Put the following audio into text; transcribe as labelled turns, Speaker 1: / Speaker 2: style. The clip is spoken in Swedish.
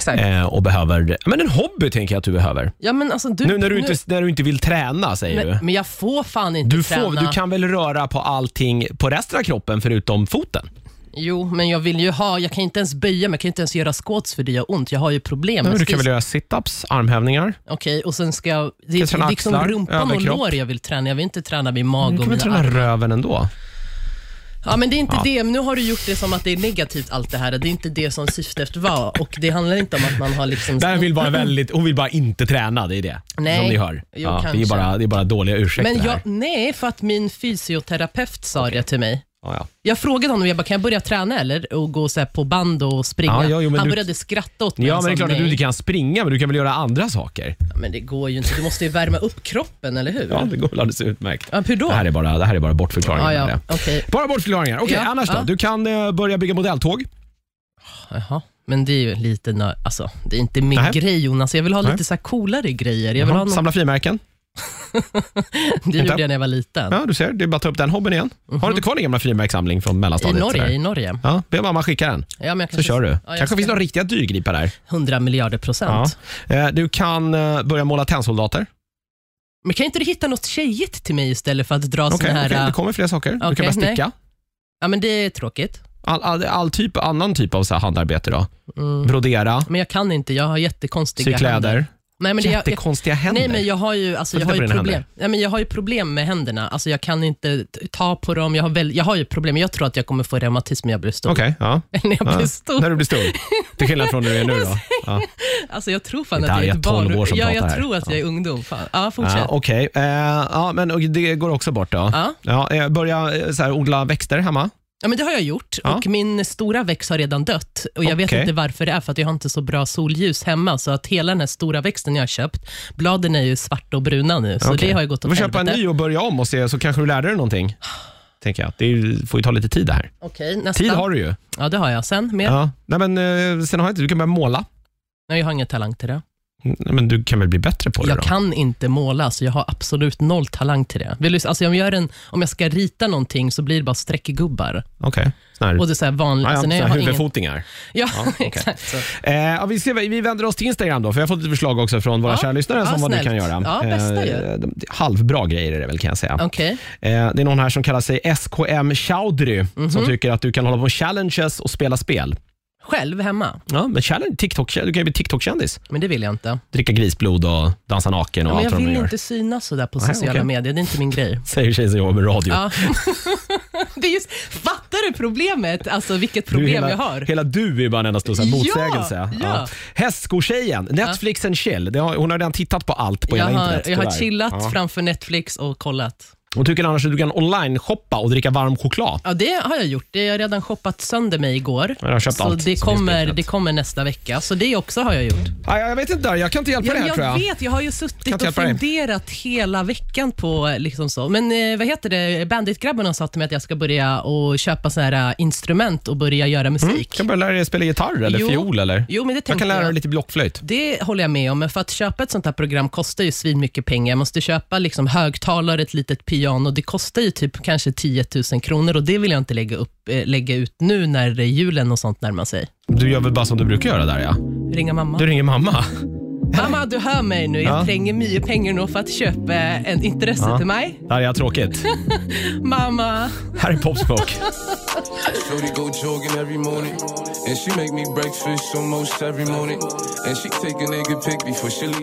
Speaker 1: exakt.
Speaker 2: Eh, och behöver, ja, men en hobby tänker jag att du behöver.
Speaker 1: Ja, men alltså, du,
Speaker 2: Nu när du inte, när du inte vill träna säger
Speaker 1: men,
Speaker 2: du.
Speaker 1: men jag får fan inte
Speaker 2: Du,
Speaker 1: träna.
Speaker 2: får, du kan väl röra på allting på resten av kroppen förutom foten?
Speaker 1: Jo, men jag vill ju ha, jag kan inte ens böja mig, jag kan inte ens göra squats för det gör ont. Jag har ju problem
Speaker 2: Men
Speaker 1: med
Speaker 2: du kan
Speaker 1: skis-
Speaker 2: väl göra situps, armhävningar?
Speaker 1: Okej, och sen ska jag... Det
Speaker 2: Kan träna
Speaker 1: är liksom
Speaker 2: axlar,
Speaker 1: rumpan och
Speaker 2: överkropp.
Speaker 1: lår jag vill träna. Jag vill inte träna min mage
Speaker 2: Mm, Du
Speaker 1: och
Speaker 2: kan väl
Speaker 1: mina
Speaker 2: träna
Speaker 1: armar.
Speaker 2: röven ändå?
Speaker 1: Ja, men det är inte det. Men Nu har du gjort det som att det är negativt allt det här. Det är inte det som syftet var. Och det handlar inte om att man har liksom...
Speaker 2: Där vill bara väldigt, hon vill bara inte träna, det är det.
Speaker 1: Nej.
Speaker 2: Som ni hör.
Speaker 1: Jo,
Speaker 2: Ja, det, är
Speaker 1: kanske.
Speaker 2: bara, det är bara dåliga ursäkter
Speaker 1: men
Speaker 2: här.
Speaker 1: jag, nej, för att min fysioterapeut sa det till mig.
Speaker 2: Ja, ja.
Speaker 1: Jag frågade honom, jag bara, kan jag börja träna eller? Och gå så här på band och springa.
Speaker 2: Ja, ja, jo, men
Speaker 1: Han
Speaker 2: du-
Speaker 1: började skratta åt mig.
Speaker 2: ja
Speaker 1: Han
Speaker 2: men det är
Speaker 1: sa,
Speaker 2: klart att du
Speaker 1: "Nej."
Speaker 2: inte kan springa, men du kan väl göra andra saker?
Speaker 1: Ja, Men det går ju inte. Du måste ju värma upp kroppen, eller hur?
Speaker 2: Ja, det går väl alldeles utmärkt.
Speaker 1: Ja, hur då?
Speaker 2: Det här är bara, det här är bara bortförklaringar.
Speaker 1: Ja, ja,
Speaker 2: menar jag.
Speaker 1: okej.
Speaker 2: Bara bortförklaringar. Okej,
Speaker 1: Ja,
Speaker 2: annars då?
Speaker 1: ja.
Speaker 2: Du kan eh, börja bygga modelltåg.
Speaker 1: Jaha, men det är ju lite nö- alltså, det är inte min
Speaker 2: Nej.
Speaker 1: grej Jonas. Jag vill ha
Speaker 2: Nej.
Speaker 1: lite så här coolare grejer. Jag vill
Speaker 2: Jaha,
Speaker 1: ha någon,
Speaker 2: Samla frimärken.
Speaker 1: det
Speaker 2: inte?
Speaker 1: gjorde jag när jag var liten. Mhm.
Speaker 2: Ja, du ser. Det är bara att ta upp den hobbyn igen. Har du inte kvar din gamla frimärkssamling från
Speaker 1: I
Speaker 2: mellanstadiet?
Speaker 1: Norge,
Speaker 2: sådär?
Speaker 1: i Norge.
Speaker 2: Ja, be mamma skicka den,
Speaker 1: Ja, men jag
Speaker 2: så
Speaker 1: kanske,
Speaker 2: kör du.
Speaker 1: Ja, jag
Speaker 2: Kanske
Speaker 1: ska-
Speaker 2: finns några riktiga dyrgripar där.
Speaker 1: 100
Speaker 2: Ja.
Speaker 1: miljarder procent.
Speaker 2: Eh, Du kan eh, börja måla tennsoldater.
Speaker 1: Men kan inte du hitta något tjejigt till mig istället för att dra
Speaker 2: Okej,
Speaker 1: sån här...
Speaker 2: okej, det
Speaker 1: äh,
Speaker 2: kommer fler saker. du kan
Speaker 1: okej,
Speaker 2: börja sticka.
Speaker 1: Ja, men det är tråkigt.
Speaker 2: All, all, all typ, annan typ av så här handarbete. Då.
Speaker 1: Mm.
Speaker 2: Brodera,
Speaker 1: Men jag kan inte, jag har jättekonstiga
Speaker 2: sy kläder.
Speaker 1: händer. Nej, men det, jag, jag,
Speaker 2: Jättekonstiga händer.
Speaker 1: nej, men jag har ju, alltså,
Speaker 2: Får
Speaker 1: jag
Speaker 2: titta
Speaker 1: har
Speaker 2: på
Speaker 1: ju
Speaker 2: dina
Speaker 1: problem.
Speaker 2: händer.
Speaker 1: Ja, men jag har ju problem med händerna. Alltså, jag kan inte t- ta på dem. Jag har, väl, jag har ju problem. Jag tror att jag kommer få reumatism när jag blir stor.
Speaker 2: Okej, ja.
Speaker 1: när jag
Speaker 2: ja.
Speaker 1: blir stor.
Speaker 2: När du blir stor. Till skillnad från när du är nu då. Ja.
Speaker 1: Alltså jag tror fan
Speaker 2: Det där
Speaker 1: att jag
Speaker 2: är
Speaker 1: är ett barn.
Speaker 2: tolvår som
Speaker 1: ja,
Speaker 2: pratar
Speaker 1: jag
Speaker 2: här.
Speaker 1: tror att jag är ungdom. Fan. Ja, fortsätt.
Speaker 2: Ja, Okej, Eh, ja, men och det går också bort då.
Speaker 1: Ja.
Speaker 2: Ja, eh, börja eh, så här, odla växter hemma.
Speaker 1: Ja, men det har jag gjort
Speaker 2: Ja.
Speaker 1: och min stora växt har redan dött. Och Jag vet
Speaker 2: Okej.
Speaker 1: inte varför det är, för att jag har inte så bra solljus hemma. Så att hela den här stora växten jag har köpt, bladen är ju svarta och bruna nu. Så
Speaker 2: Okej.
Speaker 1: det har ju gått
Speaker 2: Du får
Speaker 1: åt
Speaker 2: köpa en
Speaker 1: helvete.
Speaker 2: ny och börja om och se, så kanske du lärde dig någonting. Tänker jag. Det är ju- får ju ta lite tid det här.
Speaker 1: Okej, nästa.
Speaker 2: Tid har du ju.
Speaker 1: Ja, det har jag. Sen mer?
Speaker 2: Ja. Nej, men, eh, sen har jag inte, du kan börja måla.
Speaker 1: Nej, jag har ingen talang till det.
Speaker 2: Mm, Men du kan väl bli bättre på det
Speaker 1: Jag
Speaker 2: då?
Speaker 1: kan inte måla, så jag har absolut noll talang till det. Vill du, alltså, om, jag gör en, om jag ska rita någonting så blir det bara streckgubbar.
Speaker 2: Okej. Sån här-
Speaker 1: Och det är så här vanligt.
Speaker 2: Ja, ja,
Speaker 1: Alltså, nej,
Speaker 2: sån
Speaker 1: jag
Speaker 2: här
Speaker 1: har ingen...
Speaker 2: huvudfotingar.
Speaker 1: Ja,
Speaker 2: okej.
Speaker 1: exakt. Så.
Speaker 2: Eh, ja, vi, ser, vi vänder oss till Instagram då, för jag har fått lite förslag också från våra
Speaker 1: Ja.
Speaker 2: kära lyssnare
Speaker 1: Ja,
Speaker 2: som vad du
Speaker 1: snällt.
Speaker 2: kan göra.
Speaker 1: Ja, bästa ju.
Speaker 2: Eh, de- de- halvbra grejer är det väl kan jag säga.
Speaker 1: Okej.
Speaker 2: Eh, det är någon här som kallar sig SKM Chowdry som
Speaker 1: Mhm.
Speaker 2: tycker att du kan hålla på med challenges och spela spel.
Speaker 1: Själv hemma?
Speaker 2: Ja, men challenge, TikTok, du kan ju bli TikTok-kändis.
Speaker 1: Men det vill jag inte.
Speaker 2: Dricka grisblod och dansa naken och
Speaker 1: Ja,
Speaker 2: allt
Speaker 1: men jag
Speaker 2: vad de
Speaker 1: vill
Speaker 2: gör.
Speaker 1: inte synas sådär på
Speaker 2: Nej,
Speaker 1: sociala
Speaker 2: okej.
Speaker 1: medier. Det är inte min grej.
Speaker 2: Säger tjejen som jobbar med radio.
Speaker 1: Ja. det är just, fattar du problemet? Alltså vilket
Speaker 2: Du,
Speaker 1: problem
Speaker 2: hela,
Speaker 1: jag har.
Speaker 2: Hela du är bara en enda stor så här
Speaker 1: Ja,
Speaker 2: motsägelse.
Speaker 1: ja.
Speaker 2: Hästskotjejen, Netflix and chill. Det har, hon har redan tittat på allt på
Speaker 1: jag,
Speaker 2: hela
Speaker 1: har,
Speaker 2: internet.
Speaker 1: jag har
Speaker 2: tyvärr.
Speaker 1: chillat
Speaker 2: Ja.
Speaker 1: framför Netflix och kollat.
Speaker 2: Hon tycker annars att du kan online-shoppa och dricka varm choklad.
Speaker 1: Ja, det har jag gjort. Det har jag redan shoppat sönder mig igår.
Speaker 2: Jag har köpt
Speaker 1: så
Speaker 2: allt
Speaker 1: det,
Speaker 2: som finns på
Speaker 1: kommer,
Speaker 2: internet.
Speaker 1: det kommer nästa vecka. Så det också har jag gjort.
Speaker 2: Nej, jag vet inte, jag kan inte hjälpa
Speaker 1: Ja,
Speaker 2: dig här
Speaker 1: jag,
Speaker 2: tror jag.
Speaker 1: vet, jag har ju
Speaker 2: Kan
Speaker 1: suttit
Speaker 2: inte
Speaker 1: och
Speaker 2: hjälpa dig.
Speaker 1: funderat hela veckan på eh, liksom så. Men eh, vad heter det? Banditgrabbarna sa till mig att jag ska börja och köpa såna här eh, instrument och börja göra musik.
Speaker 2: Mm, Kan börja lära dig spela gitarr eller
Speaker 1: Jo.
Speaker 2: fiol eller?
Speaker 1: Jo, men det
Speaker 2: jag
Speaker 1: tänkte
Speaker 2: kan lära dig
Speaker 1: jag.
Speaker 2: lite blockflöjt.
Speaker 1: Det håller jag med om, men för att köpa ett sånt här program kostar ju svin mycket pengar. Jag måste köpa liksom högtalare, ett litet piano. Det kostar ju typ kanske 10 000 kronor och det vill jag inte lägga, upp, eh, lägga ut nu när eh, julen och sånt närmar sig.
Speaker 2: Du gör väl bara som du brukar göra där ja.
Speaker 1: Ringa mamma.
Speaker 2: Du ringer mamma.
Speaker 1: Mamma, du hör mig nu. Jag
Speaker 2: Ja.
Speaker 1: tränger mycket pengar nu för att köpa en intresse
Speaker 2: Ja.
Speaker 1: till mig.
Speaker 2: Det här är tråkigt.
Speaker 1: Mamma.
Speaker 2: här är Popsmoke.
Speaker 3: Shorty go jogging every morning, and she make me breakfast almost every morning, and she take a nigga pic before she leave.